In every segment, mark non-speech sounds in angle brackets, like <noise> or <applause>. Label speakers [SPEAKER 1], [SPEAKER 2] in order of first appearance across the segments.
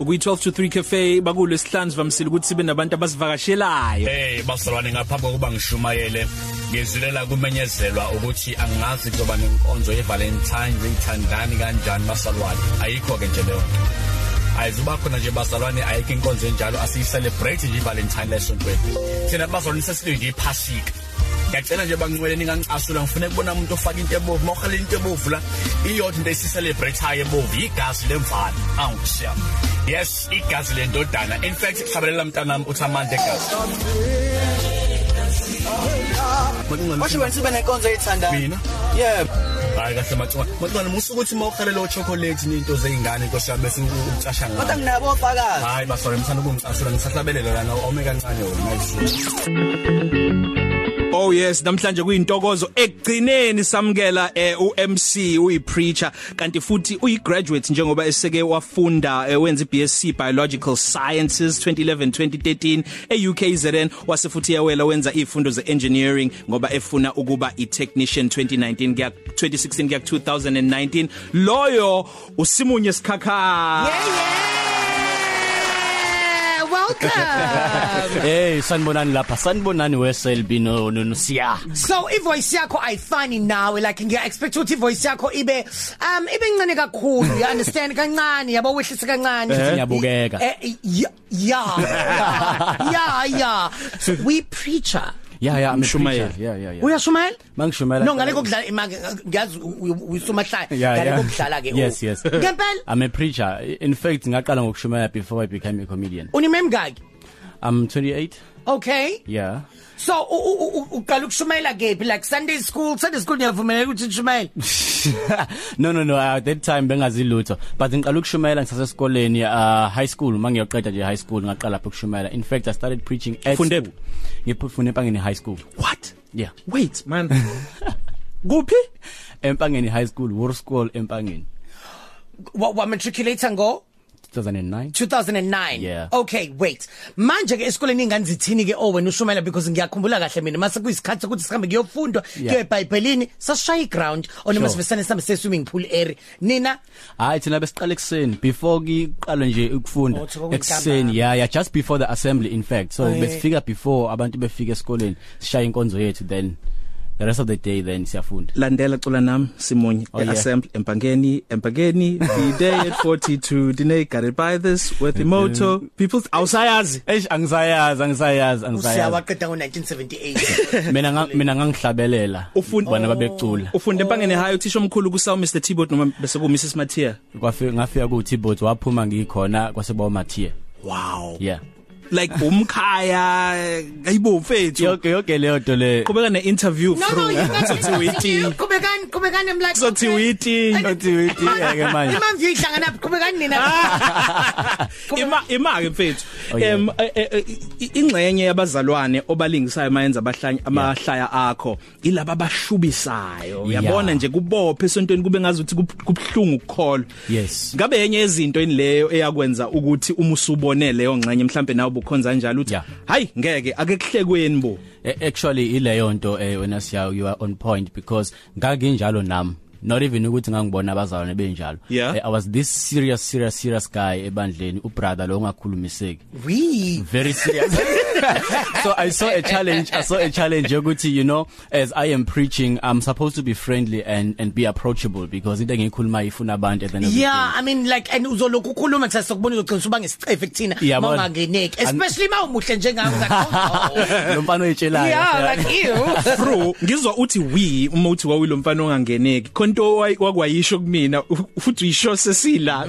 [SPEAKER 1] ukuyi12 to 3 cafe bakulo sihlanzi vamsile ukuthi sibe nabantu abasivakashelayo
[SPEAKER 2] Hey basolwane ngaphambi kokuba ngishumayele ngizilela kumenyezelwa ukuthi angazi kuzoba nenkonzo yeValentine uyithandani kanjani basolwane ayikho ke nje leyo nto. Ayizuba khona nje basolwane ayikho inkonzo enjalo asiyicelebrate nje iValentine lesontweni thina basolwane sesilwe nje iphasika ngiyacela nje bangincweleni kancasula ngifuna ukubona umuntu ofaka into ebovu mawuhalela into ebovu la iyodwa into esicelebrate-ayo ebovu igazi lemvana angusiyam yes igazi lendodana in fact hlabelela mntanami uthi amandla egazi
[SPEAKER 3] Washo wena sibe nenkonzo eyithandayo.
[SPEAKER 2] mina
[SPEAKER 3] Yebo.
[SPEAKER 2] hayi kahle macwa macwa musuku uthi mawuhalela uchocolate ninto zeingane nkosha bese ucasha
[SPEAKER 3] Kodwa
[SPEAKER 2] ngayo
[SPEAKER 3] nginabo ofakazi.
[SPEAKER 2] hayi basore msana kumcasula ngisahlabelela lana ome kancane wena ayisho
[SPEAKER 1] Oh yes namhlanje kuyintokozo ekugcineni samukela eh, uMC uyipreacher kanti futhi uyigraduate njengoba eseke wafunda eh, wenza iBSc Biological Sciences 2011-2013 eUKZN wase futhi yawela wenza izifundo zeengineering ngoba efuna ukuba itechnician 2019 kuya 2016 kuya 2019 loyo usimunye sikhakha
[SPEAKER 4] Yeah, yeah. Welcome.
[SPEAKER 5] Hey sanibonani lapha sanibonani weselbi no no no, siya
[SPEAKER 4] <laughs> so ivoice yakho ayifani nawe like ngiya expect ukuthi ivoice yakho ibe um ibe incane kakhulu you understand kancane yabo wehlisa kancane
[SPEAKER 5] Futhi ngiyabukeka.
[SPEAKER 4] Eh, eh, ya ya ya ya so we preacher
[SPEAKER 5] yeah yeah I'm a
[SPEAKER 1] Mshumayeli.
[SPEAKER 5] preacher. yeah yeah yeah
[SPEAKER 4] uyashumayela
[SPEAKER 5] Mangishumayela.
[SPEAKER 4] no ngale kokudlala imake ngiyazi u- u- usumahlaya
[SPEAKER 5] Yeah,
[SPEAKER 4] ngale
[SPEAKER 5] yeah.
[SPEAKER 4] kokudlala ke
[SPEAKER 5] <laughs>
[SPEAKER 4] oh.
[SPEAKER 5] Yes, yes.
[SPEAKER 4] ngempela
[SPEAKER 5] I'm a preacher in fact ngaqala ngokushumayela before I became a comedian
[SPEAKER 4] Oh. unimemgaki
[SPEAKER 5] I'm 28
[SPEAKER 4] okay
[SPEAKER 5] yeah <laughs>
[SPEAKER 4] So u- u- u- uqala ukushumayela kephi like Sunday school Sunday school niyavumeleka ukuthi nishumayele
[SPEAKER 5] no no no at that time bengazilutho but ngiqala ukushumayela ngisase esikoleni uh high school mangiyoqeda nje high school ngaqala lapho ukushumayela in fact I started preaching at
[SPEAKER 1] Funde-
[SPEAKER 5] ngiphufunde empangeni high school
[SPEAKER 1] what
[SPEAKER 5] yeah
[SPEAKER 1] wait man kuphi
[SPEAKER 5] empangeni high school war school empangeni
[SPEAKER 4] wa wa- matriculate ngo
[SPEAKER 5] 2009
[SPEAKER 4] 2009
[SPEAKER 5] Yeah.
[SPEAKER 4] okay wait manje ke esikoleni ingane zithini ke owena ushumayela because ngiyakhumbula kahle mina mase kuyisikhathi ukuthi sihambe kuyofundwa
[SPEAKER 5] Yeah.
[SPEAKER 4] kuye eBhayibhelini sasishaya iground onoma
[SPEAKER 5] Sure.
[SPEAKER 4] sivesane sihambe se swimming pool area nina
[SPEAKER 5] Hayi thina besiqala ekseni before kuqala nje ukufunda
[SPEAKER 4] Oh, thoko kuyintambama.
[SPEAKER 5] ekseni yeah yeah just before the assembly in fact so
[SPEAKER 4] Oh, yeah.
[SPEAKER 5] besifika before abantu befika esikoleni sishaya inkonzo yethu then the rest of the day then siyafunda
[SPEAKER 1] landela cula nami simunye
[SPEAKER 5] Oh, yeah.
[SPEAKER 1] assembly empangeni
[SPEAKER 5] <laughs>
[SPEAKER 1] empangeni the day at 42 dine garibaythis with emoto people awusayazi
[SPEAKER 5] eish angisayazi angisayazi angisayazi
[SPEAKER 4] usiyawaqeda
[SPEAKER 5] <laughs>
[SPEAKER 4] ngo1978
[SPEAKER 5] mina nga- mina ngangihlabelela
[SPEAKER 1] Ufunda-
[SPEAKER 5] bona babecula
[SPEAKER 1] Oh. ufunde empangeni high uthisha omkhulu kusaw Mr Tibot noma bese ku Mrs Mathia
[SPEAKER 5] kwafika ngafika ku T-Bot waphuma ngikhona kwase bawo Mathiya
[SPEAKER 1] wow
[SPEAKER 5] yeah
[SPEAKER 1] like umkhaya ayibomfethu
[SPEAKER 5] yonke yonke leyo nto le
[SPEAKER 1] qhubeka ne interview through <laughs>
[SPEAKER 4] you kubekani kubekani emlaki
[SPEAKER 1] sothi witi
[SPEAKER 5] uthi yeke manje
[SPEAKER 4] imamvu ihlangana kubekani nina
[SPEAKER 1] ima ima ke mfethu
[SPEAKER 5] Oh, yeah.
[SPEAKER 1] em eh, eh, eh, i- ingxenye yabazalwane obalingisayo mayenza abahlanya amahlaya akho ilaba abashubisayo
[SPEAKER 5] Yeah.
[SPEAKER 1] uyabona nje kubophe esontweni kube ngazuthi kubhlungu ukukholwa
[SPEAKER 5] Yes.
[SPEAKER 1] ngabe enye yezinto enileyo eyakwenza ukuthi uma usubone leyo ngxenye mhlambe nawe ubukhonza kanjalo uthi
[SPEAKER 5] Yeah.
[SPEAKER 1] hayi ngeke ake kuhlekweni bo
[SPEAKER 5] A- E, actually ileyo nto eh wena siya you are on point because ngakinjalo nami not even ukuthi ngangibona abazalwane benjalo
[SPEAKER 1] Yeah.
[SPEAKER 5] Eh, i was this serious serious serious guy ebandleni ubrother lo ngakhulumiseki
[SPEAKER 4] <laughs> we
[SPEAKER 5] very serious <laughs> so i saw a challenge i saw a challenge ukuthi you know as i am preaching i'm supposed to be friendly and and be approachable because into engikhuluma ifuna abantu and then
[SPEAKER 4] Yeah, I mean like and uzoloku ukhuluma ngisase sokubona uzogcina usuba ngesicefe kuthina
[SPEAKER 5] Yabona.
[SPEAKER 4] mawangangeneki
[SPEAKER 5] And-
[SPEAKER 4] especially mawumuhle
[SPEAKER 5] <laughs>
[SPEAKER 4] njengami like
[SPEAKER 5] everything. <laughs> lo mfana
[SPEAKER 4] oh.
[SPEAKER 5] oyitshelayo
[SPEAKER 4] Yeah, like you.
[SPEAKER 1] bro ngizwa uthi we uma uthi wawilo mfana ongangeneki khonto wakwayisho kumina u- futhi uyisho sesila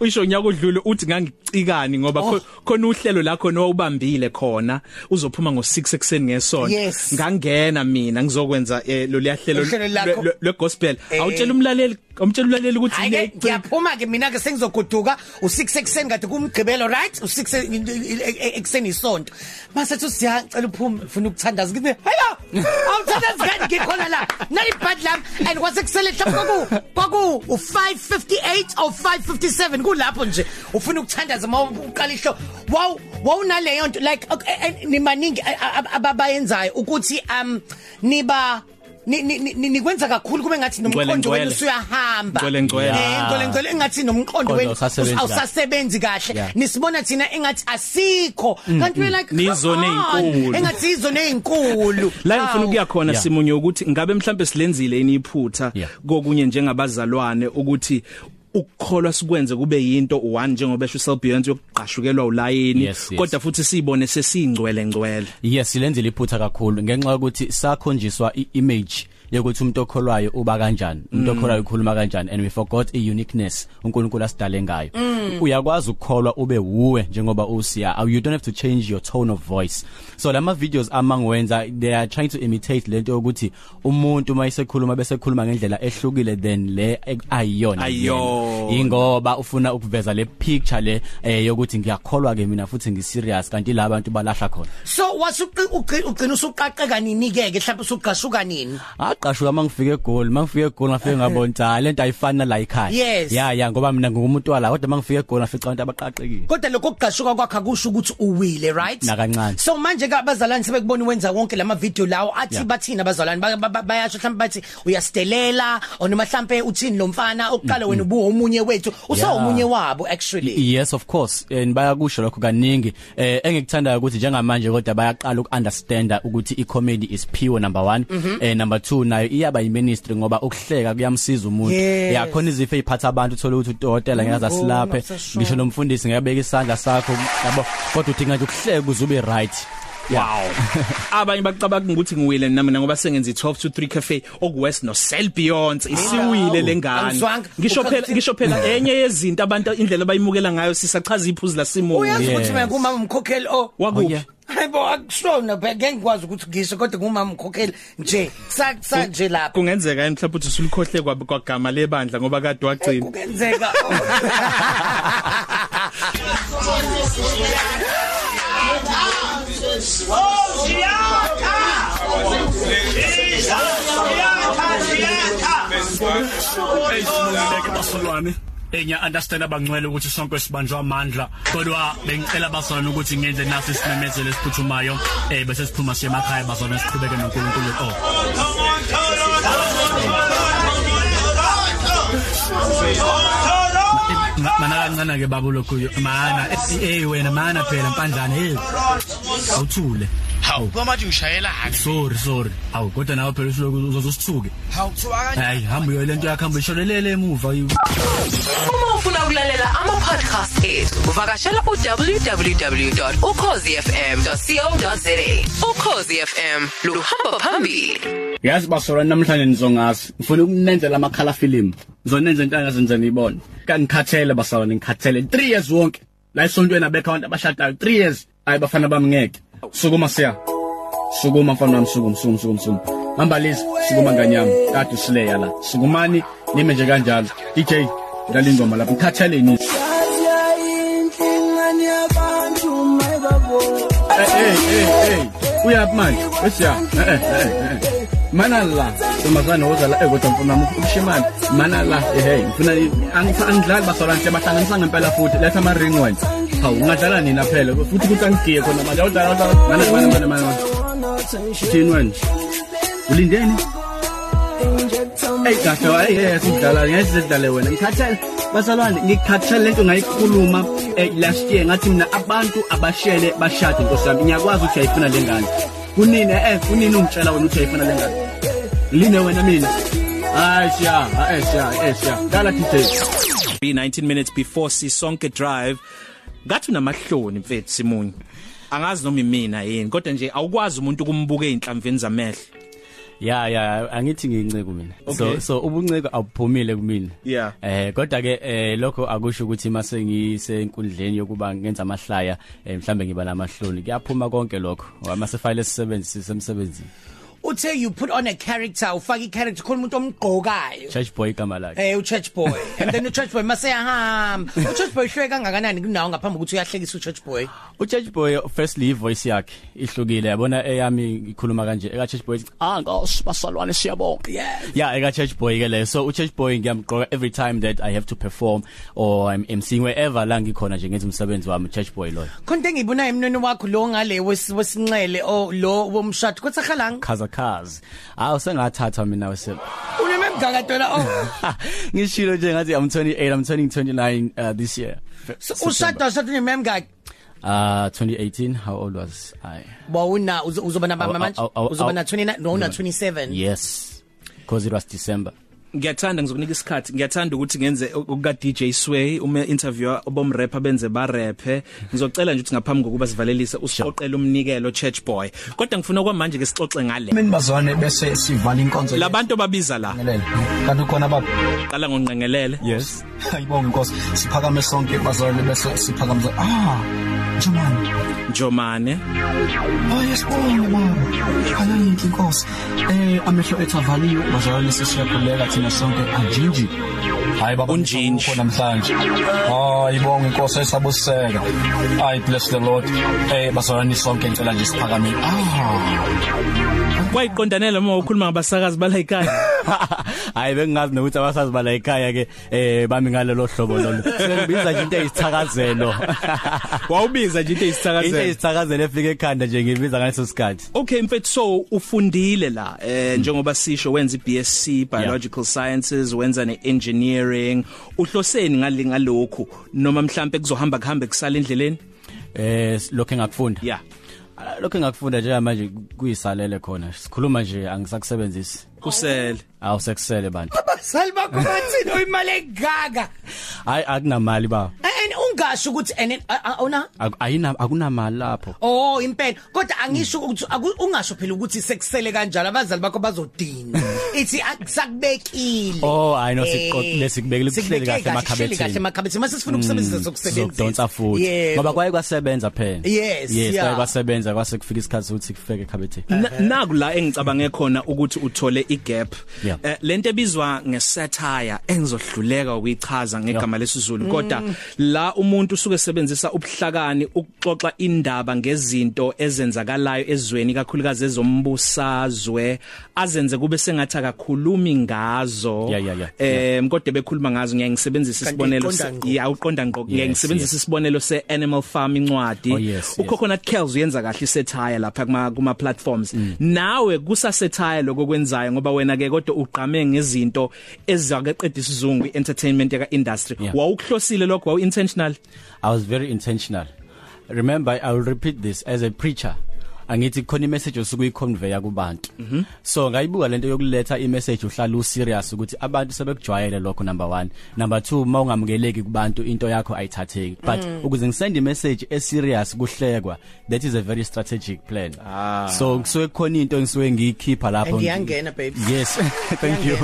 [SPEAKER 1] uyisho nyaka odlule uthi ngangicikani ngoba kho- khona uhlelo la khona owubambile khona uzophuma ngo6 ekseni ngesonto
[SPEAKER 4] Yes.
[SPEAKER 1] ngangena mina ngizokwenza eh, lo liyahlelo
[SPEAKER 4] Uhlelo lakho.
[SPEAKER 1] lwegospel awutshela umlaleli awumtshela umlaleli ukuthi
[SPEAKER 4] Hayi ke
[SPEAKER 1] ngiyacika.
[SPEAKER 4] ngiyaphuma ke mina ke sengizoguduka u6 ekseni kade kumgqibelo right u6 ekseni isonto mase thu siyacela uphume ufuna ukuthandaza ngithi hello awuthandazi kanti ngikhona la nali bad lam and wasekusele mhlawumbe kwaku kwaku u558 or 557 kulapho nje ufuna ukuthandaza mawuqala ihlo wow wawunaleyo eh, nto like okay, and nimaningi a- a- a- ababayenzayo ukuthi um niba ni- ni- ni- nikwenza kakhulu kube ngathi
[SPEAKER 5] Ngcwele,
[SPEAKER 4] nomkhondo wenu
[SPEAKER 5] ngcwele.
[SPEAKER 4] usuyahamba
[SPEAKER 1] Ngcwele, ngcwele.
[SPEAKER 4] Eh, ngcwele ngcwele engathi nomkhondo
[SPEAKER 5] Mkhondo
[SPEAKER 4] wenu
[SPEAKER 5] awusasebenzi kahle.
[SPEAKER 4] awusasebenzi
[SPEAKER 5] Yeah. Mm,
[SPEAKER 4] kahle nisibona thina engathi asikho kanti we like come
[SPEAKER 1] Nizone
[SPEAKER 4] on.
[SPEAKER 1] ey'nkulu.
[SPEAKER 4] engathi izone
[SPEAKER 1] <laughs>
[SPEAKER 4] ezinkulu
[SPEAKER 1] la ngifuna ukuya khona
[SPEAKER 5] Yeah.
[SPEAKER 1] simunye ukuthi ngabe mhlambe silenzile iniphutha
[SPEAKER 5] Yeah.
[SPEAKER 1] kokunye njengabazalwane ukuthi ukukholwa sikwenze kube yinto one njengoba esho Selbeyond yokuqashukelwa ulayini
[SPEAKER 5] Yes, yes.
[SPEAKER 1] kodwa futhi siyibone sesingcwele ngcwele
[SPEAKER 5] yes silenzile iphutha kakhulu ngenxa ukuthi sakhonjiswa i-image yokuthi umuntu okholwayo uba kanjani umuntu okholwayo ukhuluma kanjani and we forgot i-uniqueness uNkulunkulu asidale ngayo uyakwazi ukukholwa ube wuwe njengoba usiya Aw- you don't have to change your tone of voice so lama videos amangiwenza they are trying to imitate lento yokuthi umuntu mayisekhuluma bese khuluma ngendlela ehlukile than le e- ayiyona
[SPEAKER 1] Ayiyona.
[SPEAKER 5] Yingo- ngoba ufuna ukuveza le picture le eh yokuthi ngiyakholwa ke mina futhi ngiserious kanti la bantu balahla khona
[SPEAKER 4] so wasuqi ugci- ugcina usuqaqeka nini ke ke mhlawumbe usuqashuka nini
[SPEAKER 5] aqashuka mangifike egoli mangifike
[SPEAKER 4] <laughs>
[SPEAKER 5] egoli ngafike ngabonta lento ayifani nala ekhaya
[SPEAKER 4] Yes.
[SPEAKER 5] ya ya ngoba mina ngumuntu wala kodwa mangifike egoli ngafica abantu abaqaqekile
[SPEAKER 4] kodwa lokho kugqashuka kwakho akusho ukuthi uwile right
[SPEAKER 5] Na kancane.
[SPEAKER 4] so manje ke abazalwane sebekubona wenza wonke lama video lawo athi
[SPEAKER 5] Yeah.
[SPEAKER 4] bathina abazalwane Ba- ba- ba- bayasho mhlawumbe bathi uyastelela or noma mhlawumbe uthini lo mfana oqala wena ubu omunye wethu
[SPEAKER 5] Mm, Yeah.
[SPEAKER 4] usawumunye wabo actually
[SPEAKER 5] yes of course and bayakusho lokho kaningi eh engikuthandayo ukuthi njengamanje kodwa bayaqala ukuunderstanda ukuthi icomedy is pure number 1
[SPEAKER 4] Mhm.
[SPEAKER 5] eh number 2 nayo iyaba yiministry ngoba ukuhleka kuyamsiza umuntu
[SPEAKER 4] Yes.
[SPEAKER 5] yeah khona izifo eziphatha abantu uthola ukuthi utotela ngeke
[SPEAKER 4] Umbono,
[SPEAKER 5] asilaphe
[SPEAKER 4] sasho.
[SPEAKER 5] ngisho nomfundisi ngiyabeka isandla sakho yabo kodwa udinga nje ukuhleka uze ube right
[SPEAKER 1] wow <laughs> abanye bacabanga ukuthi ngiwile nami ngoba sengenza i12 to 3 cafe okuwest no Selbeyond isiwile lengane
[SPEAKER 4] Angizwanga.
[SPEAKER 1] ngisho phela
[SPEAKER 4] Uchaze-
[SPEAKER 1] ngisho phela enye yezinto abantu indlela bayimukela ngayo sisachaza iphuzu la
[SPEAKER 4] Oh, uyazi
[SPEAKER 1] simunye
[SPEAKER 5] Yeah.
[SPEAKER 4] ukuthi mina ngumama umkhokheli o
[SPEAKER 1] Wakuphi?
[SPEAKER 5] Oh, yeah.
[SPEAKER 4] hayibo akushona ngeke ngikwazi ukuthi ngisho kodwa ngumama umkhokheli nje sa- sa nje lapha
[SPEAKER 1] kungenzeka yini mhlawumbe uthi ulikhohle kwa- kwagama lebandla ngoba kade wagcina
[SPEAKER 4] kungenzeka oh.
[SPEAKER 2] Eyisimululeke basolwane. Enya understand abangcwele ukuthi sonke sibanjwa amandla kodwa bengicela basolwane ukuthi ngenze nasi isimemezelo esiphuthumayo eh bese siphuma siye emakhaya basolwane siqhubeke noNkulunkulu oh Ma- mana kancane ke babo lokhu mana eh wena mana phela mpandlana hey awuthule
[SPEAKER 6] Hawu kwamanje ngishayelana.
[SPEAKER 2] sorry sorry awu kodwa nawe phela usuloku uzosithuke
[SPEAKER 6] Hawu thiwa kanje.
[SPEAKER 2] hayi hamba uyo lento yakho hamba ishorelele emuva you
[SPEAKER 7] Uma ufuna ukulalela ama-podcast ethu, uvakashela u-www.ukhozifm.co.za. Ukhozi FM, luhamba phambili.
[SPEAKER 2] yazi basolwane namhlanje nizongazi ngifuna ukunenzela amakhala film ngizonenza into angazenze niyibone kangikhathele basolwane ngikhathele 3 years wonke la esontweni abekho abantu abashadayo 3 years hayi bafana bami ngeke sukuma siya sukuma mfana wami sukuma sukuma sukuma sukuma hamba lezi sukuma nganyama kade usileya la sukumani nime nje kanjalo DJ dlala ingoma lapho ngikhathele ni Eh, eh, eh, eh. uyaphi manje wesiya Eh, eh, eh, eh. mana la ntombazane wozala ekodwa mfana wami ukushimani mana la ehey ngifuna angifa- angidlali basolwane siyabahlanganisa ngempela futhi letha ama-ring wena hawu ungadlala nina phela futhi ukuthi angigiye khona manje awudlala awudlala mana mana mana mana mana. thini wena ulindeni eyi kahle hayi yes ngidlala ngeke sidlale wena ngikhathele basalwane ngikhathele lento ngayikhuluma eh, last year ngathi mina abantu abashele bashade nkosi yami ngiyakwazi ukuthi ayifuna lengane kunini eh kunini ungitshela wena ukuthi ayifuna lengane line wena mina hayi siya hayi siya hayi siya dala details
[SPEAKER 1] be 19 minutes before sisonke drive ngathi namahloni mfethu simunye angazi noma imina yini kodwa nje awukwazi umuntu kumbuka einhlamveni zamehlo
[SPEAKER 5] ya ya angithi nginceke mina so
[SPEAKER 1] Okay.
[SPEAKER 5] so ubunceke awuphumile kumina
[SPEAKER 1] Yeah.
[SPEAKER 5] eh kodwa ke eh lokho akusho ukuthi mase ngisenkundleni yokuba ngenza amahlaya eh, mhlambe ngiba namahloni kuyaphuma konke lokho amase file sisebenzisi semsebenzini
[SPEAKER 4] uthe you put on a character ufaka i-character khona umuntu omgqokayo
[SPEAKER 5] church boy igama lakhe
[SPEAKER 4] Eh uchurch boy and then uchurch boy maseyahamba uchurch boy hlwe kangakanani kunawo ngaphambi ukuthi uyahlekisa uchurch boy
[SPEAKER 5] uchurch boy firstly ivoice yakhe ihlukile yabona eyami ngikhuluma kanje eka church boy ah ngos basalwane siyabonga
[SPEAKER 4] Yes.
[SPEAKER 5] yeah eka church boy ke le so uchurch boy ngiyamgqoka every time that i have to perform or i'm emceeing wherever la ngikhona nje ngenza umsebenzi wami church boy loyo
[SPEAKER 4] konke engiyibonayo emnweni wakho lo ngale wes- wesinxele o lo oh, womshado kodwa halang
[SPEAKER 5] chaza cars awusengathatha mina wesel <laughs>
[SPEAKER 4] unememgakado la oh
[SPEAKER 5] ngishilo nje ngathi i'm 28 i'm turning 29 uh, this year Fe-
[SPEAKER 4] So
[SPEAKER 5] September.
[SPEAKER 4] ushada shada unememgakado
[SPEAKER 5] uh 2018 how old was i
[SPEAKER 4] bawuna uzo- uzoba
[SPEAKER 5] Aw-
[SPEAKER 4] nabama manje
[SPEAKER 5] aw- aw-
[SPEAKER 4] uzoba
[SPEAKER 5] aw-
[SPEAKER 4] na 29 no una 27
[SPEAKER 5] yes because it was december <laughs>
[SPEAKER 1] Ngiyathanda ngizokunika isikhathi. Ngiyathanda ukuthi ngenze ukuka DJ Sway uma interviewer obomrapper benze ba rap. Ngizocela nje ukuthi ngaphambi kokuba sivalelise usiqoqele umnikelo Church Boy. Kodwa ngifuna kwamanje ke sixoxe ngale.
[SPEAKER 2] mina bazwane bese sivala inkonzo
[SPEAKER 1] Labantu babiza la.
[SPEAKER 2] Ngibingelele. kanti khona baba
[SPEAKER 1] Qala ngonqengelele.
[SPEAKER 5] yes
[SPEAKER 2] ayibonge inkosi siphakame sonke bazwane bese siphakamisa ah njomani
[SPEAKER 1] Jomane.
[SPEAKER 2] ayesibonge Oh, baba alayinhle inkosi eh amehlo ethu avaliwe bazwane bese siyakhuleka thina sonke anjinji hayi baba
[SPEAKER 1] Unjinji.
[SPEAKER 2] ngikho namhlanje ayibonge inkosi esabuseka i bless the lord eh bazwane sonke ngicela nje siphakame ah
[SPEAKER 1] Kwayiqondanela uma ukhuluma ngabasakazi bala ekhaya.
[SPEAKER 5] hayi bengingazi nokuthi abasazi bala ekhaya ke eh bami ngalelo hlobo lolo sengibiza nje into
[SPEAKER 4] <laughs>
[SPEAKER 5] eyisithakazelo
[SPEAKER 1] <laughs> Wawubiza nje into
[SPEAKER 5] into
[SPEAKER 1] ezithakazela.
[SPEAKER 5] eyisithakazelo efika ekhanda nje ngibiza ngaleso sikhathi
[SPEAKER 1] Okay mfethu so ufundile la eh njengoba sisho wenza iBSc biological yeah. sciences wenza neengineering uhloseni ngale ngalokho noma mhlambe kuzohamba kuhambe kusala endleleni
[SPEAKER 5] eh lokho engakufunda
[SPEAKER 1] yeah
[SPEAKER 5] Ah, lokho engakufunda njengamanje kuyisalele khona sikhuluma nje angisakusebenzisi
[SPEAKER 1] kusele
[SPEAKER 5] awusekusele bantu
[SPEAKER 4] abazali <laughs> bakho bathini uyimali egaga
[SPEAKER 5] hayi akunamali ba
[SPEAKER 4] and Eh, ungasho ukuthi eh, and awuna
[SPEAKER 5] Aku- ayina akunamali lapho
[SPEAKER 4] Oh impela kodwa angisho
[SPEAKER 5] Mm.
[SPEAKER 4] ukuthi aku- ungasho phela ukuthi sekusele kanjalo abazali bakho bazodina ithi akusakubekile
[SPEAKER 5] Mm. Oh, I know,
[SPEAKER 4] Eh,
[SPEAKER 5] sikuqo- lesikubekile kuhleli
[SPEAKER 4] sikubeke
[SPEAKER 5] kahle
[SPEAKER 4] kuhleli kahle
[SPEAKER 5] emakhabetheni.
[SPEAKER 4] emakhabetheni mase sifuna ukusebenzisa sokusebenzisa
[SPEAKER 5] sizokudonsa Mm, futhi ngoba
[SPEAKER 4] ngoba
[SPEAKER 5] kwaye kwasebenza phela
[SPEAKER 4] Yes,
[SPEAKER 5] yes
[SPEAKER 4] yeah.
[SPEAKER 5] kwaye kwasebenza kwase kufika isikhathi sokuthi kufeke ekhabethe
[SPEAKER 1] naku la engicabange khona ukuthi uthole igap
[SPEAKER 5] Yeah.
[SPEAKER 1] Eh, lento ebizwa ngesatire engizohluleka ukuyichaza ngegama lesizulu kodwa la umuntu usuke sebenzisa ubuhlakani ukuxoxa indaba ngezinto ezenzakalayo ezweni kakhulukazi ezombusazwe azenze kube sengathi akakhulumi ngazo
[SPEAKER 5] Yeah, yeah, yeah,
[SPEAKER 1] eh kodwa bekhuluma ngazo ngiyangisebenzisa
[SPEAKER 4] Kanti
[SPEAKER 1] isibonelo
[SPEAKER 4] uqonda
[SPEAKER 1] se-
[SPEAKER 4] ngqo.
[SPEAKER 1] yeah uqonda ngqo ngiyangisebenzisa isibonelo seanimal farm incwadi
[SPEAKER 5] Oh, yes, yes.
[SPEAKER 1] ukhona Kells uyenza kahle isetire lapha kuma kuma platforms nawe kusasetire lokwenzayo ngoba wena ke kodwa uqhame ngezinto ezakeqedisa isizungu entertainment yaka industry
[SPEAKER 5] Yeah.
[SPEAKER 1] wawuhlosile lokho wawu intentional
[SPEAKER 5] I was very intentional. Remember I will repeat this as a preacher. Angithi khona imessage osuku iconveya
[SPEAKER 4] Mhm.
[SPEAKER 5] kubantu. So ngayibuka lento yokuletha imessage uhlala u serious ukuthi abantu sebekujwayele lokho number 1. Number 2 mawungamukeleki kubantu into yakho ayithatheki. But
[SPEAKER 4] Mm.
[SPEAKER 5] ukuze ngisend imessage e serious kuhlekwa that is a very strategic plan. So kusuke khona into engisuke ngiyikhipha lapho.
[SPEAKER 4] Ah. And iyangena, babe.
[SPEAKER 5] Yes. <laughs> Thank you.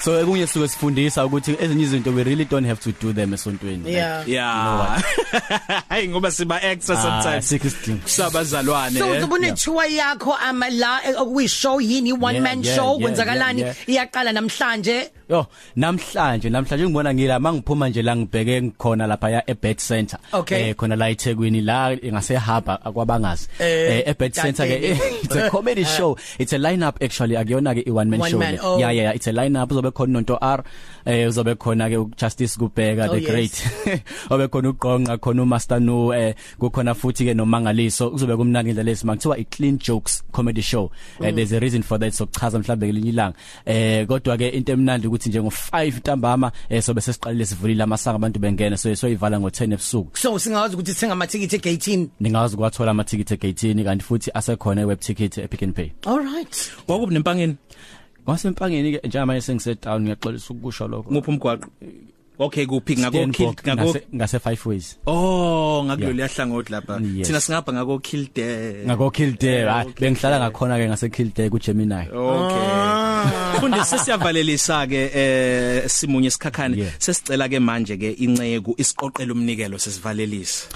[SPEAKER 5] So ekunye suke sifundisa ukuthi ezinye izinto we really don't have to do them esontweni. Like,
[SPEAKER 4] yeah
[SPEAKER 1] yeah <laughs> hayi ngoba siba extra sometimes
[SPEAKER 5] sikho isidingo.
[SPEAKER 1] sabazalwane
[SPEAKER 4] So
[SPEAKER 1] eh?
[SPEAKER 4] uzobona ithuwa yakho amala okuyi show yini one
[SPEAKER 5] Yeah,
[SPEAKER 4] man
[SPEAKER 5] yeah,
[SPEAKER 4] show
[SPEAKER 5] yeah,
[SPEAKER 4] kwenzakalani
[SPEAKER 5] yeah,
[SPEAKER 4] iyaqala namhlanje
[SPEAKER 5] Yo namhlanje namhlanje ngibona ngila mangiphuma nje la ngibheke ngikhona lapha ya eBet Center Eh,
[SPEAKER 4] Okay.
[SPEAKER 5] khona la eThekwini la ngase hub akwabangazi
[SPEAKER 4] Eh,
[SPEAKER 5] eh eBet Center ke
[SPEAKER 4] dadeli.
[SPEAKER 5] it's
[SPEAKER 4] <laughs>
[SPEAKER 5] a comedy show it's a lineup actually akuyona ke i one man
[SPEAKER 4] One
[SPEAKER 5] show
[SPEAKER 4] man,
[SPEAKER 5] le.
[SPEAKER 4] oh.
[SPEAKER 5] yeah yeah yeah, it's a lineup uzobe khona uNto R eh uzobe khona ke uJustice Kubheka
[SPEAKER 4] Oh,
[SPEAKER 5] the
[SPEAKER 4] yes.
[SPEAKER 5] great <laughs> obe khona uGqonqa khona uMaster No eh kukhona futhi ke noMangaliso kuzobe kumnandi indlela lesi makuthiwa i clean jokes comedy show
[SPEAKER 4] Mm.
[SPEAKER 5] eh, there's a reason for that sokuchaza mhlawumbe ngelinye ilanga eh kodwa ke into emnandi ukuthi nje ngo5 ntambama eh sobe sesiqalile sivulile amasaka abantu bengena so soyivala ngo10 ebusuku
[SPEAKER 4] so singawazi ukuthi sithenga amathikithi egate
[SPEAKER 5] ningazi kwathola amathikithi egate kanti futhi asekhona eweb ticket epick and pay
[SPEAKER 4] all right
[SPEAKER 1] wakuba nempangeni
[SPEAKER 5] Ngasempangeni ke njengamanje sengisetown ngiyaxolisa ukusho lokho
[SPEAKER 1] nguphi umgwaqo okay kuphi ngako kill
[SPEAKER 5] Steenbok,
[SPEAKER 1] ngako
[SPEAKER 5] ngase- ngase 5 ways
[SPEAKER 1] oh ngakulolu
[SPEAKER 5] Yeah.
[SPEAKER 1] yahlangothi lapha
[SPEAKER 5] Yes.
[SPEAKER 1] thina singapha ngako kill the
[SPEAKER 5] ngako Kildare hayi
[SPEAKER 1] Eh, Okay.
[SPEAKER 5] bengihlala ngakhona ke ngase Kildare kuGemini
[SPEAKER 1] Okay. Mfundisi siyavalelisa ke eh simunye
[SPEAKER 5] Yeah.
[SPEAKER 1] isikhakhane sesicela ke manje ke inceku isiqoqela umnikelo sesivalelisa.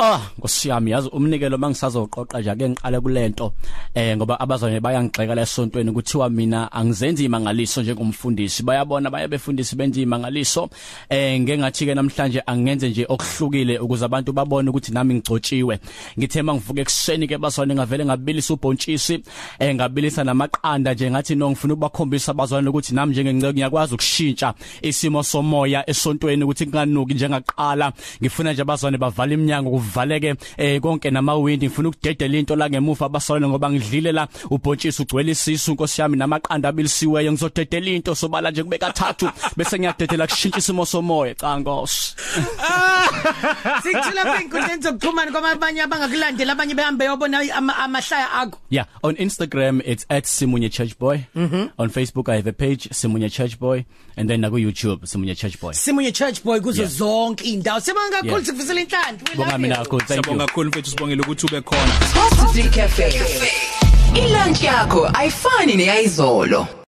[SPEAKER 5] Ah, ngosiyami yazi umnikelo mangisazoqoqa nje ake ngiqale kulento eh ngoba abazwane bayangixeka lesontweni kuthiwa mina angizenzi imangaliso njengomfundisi bayabona baye befundisi benze imangaliso eh ngengathi ke namhlanje angenze nje okuhlukile ukuze abantu babone ukuthi nami ngigcotshiwe ngithe mangivuka ekseni ke bazwane ngavele ngabilisa ubhontshisi eh ngabilisa namaqanda nje ngathi no ngifuna ukubakhombisa abazwane ukuthi nami njengenceke ngiyakwazi ukushintsha isimo somoya esontweni ukuthi kunganuki njengaqala ngifuna nje abazwane bavala iminyango kuv kuvaleke eh, konke namawindi ngifuna ukudedela into la ngemuva abasolana ngoba ngidlile la ubhontshisi ugcwele isisu nkosi yami namaqanda abilisiweyo ngizodedela into sobala nje kubeka thathu bese ngiyadedela kushintsha isimo somoya cha nkosi Ah!
[SPEAKER 4] Sikuthula kwinkundleni zokuxhumana kwamabanye abangakulandeli abanye behambe yobona ama- amahlaya akho.
[SPEAKER 5] Yeah, on Instagram it's at Simunye Churchboy. Mm-hmm. On Facebook I have a page Simunye Churchboy and then naku YouTube Simunye Churchboy.
[SPEAKER 4] Simunye church boy kuzo
[SPEAKER 5] Yeah.
[SPEAKER 4] zonke indawo. Sibonga kakhulu
[SPEAKER 5] Yeah.
[SPEAKER 4] sikufisela inhlanhla. We
[SPEAKER 5] Bonga
[SPEAKER 4] love
[SPEAKER 5] mina
[SPEAKER 4] you.
[SPEAKER 5] kakhulu. Thank you.
[SPEAKER 1] Siyabonga kakhulu mfethu sibongile ukuthi ube khona
[SPEAKER 7] Coffee Cafe. Ilunch yakho ayifani neyizolo.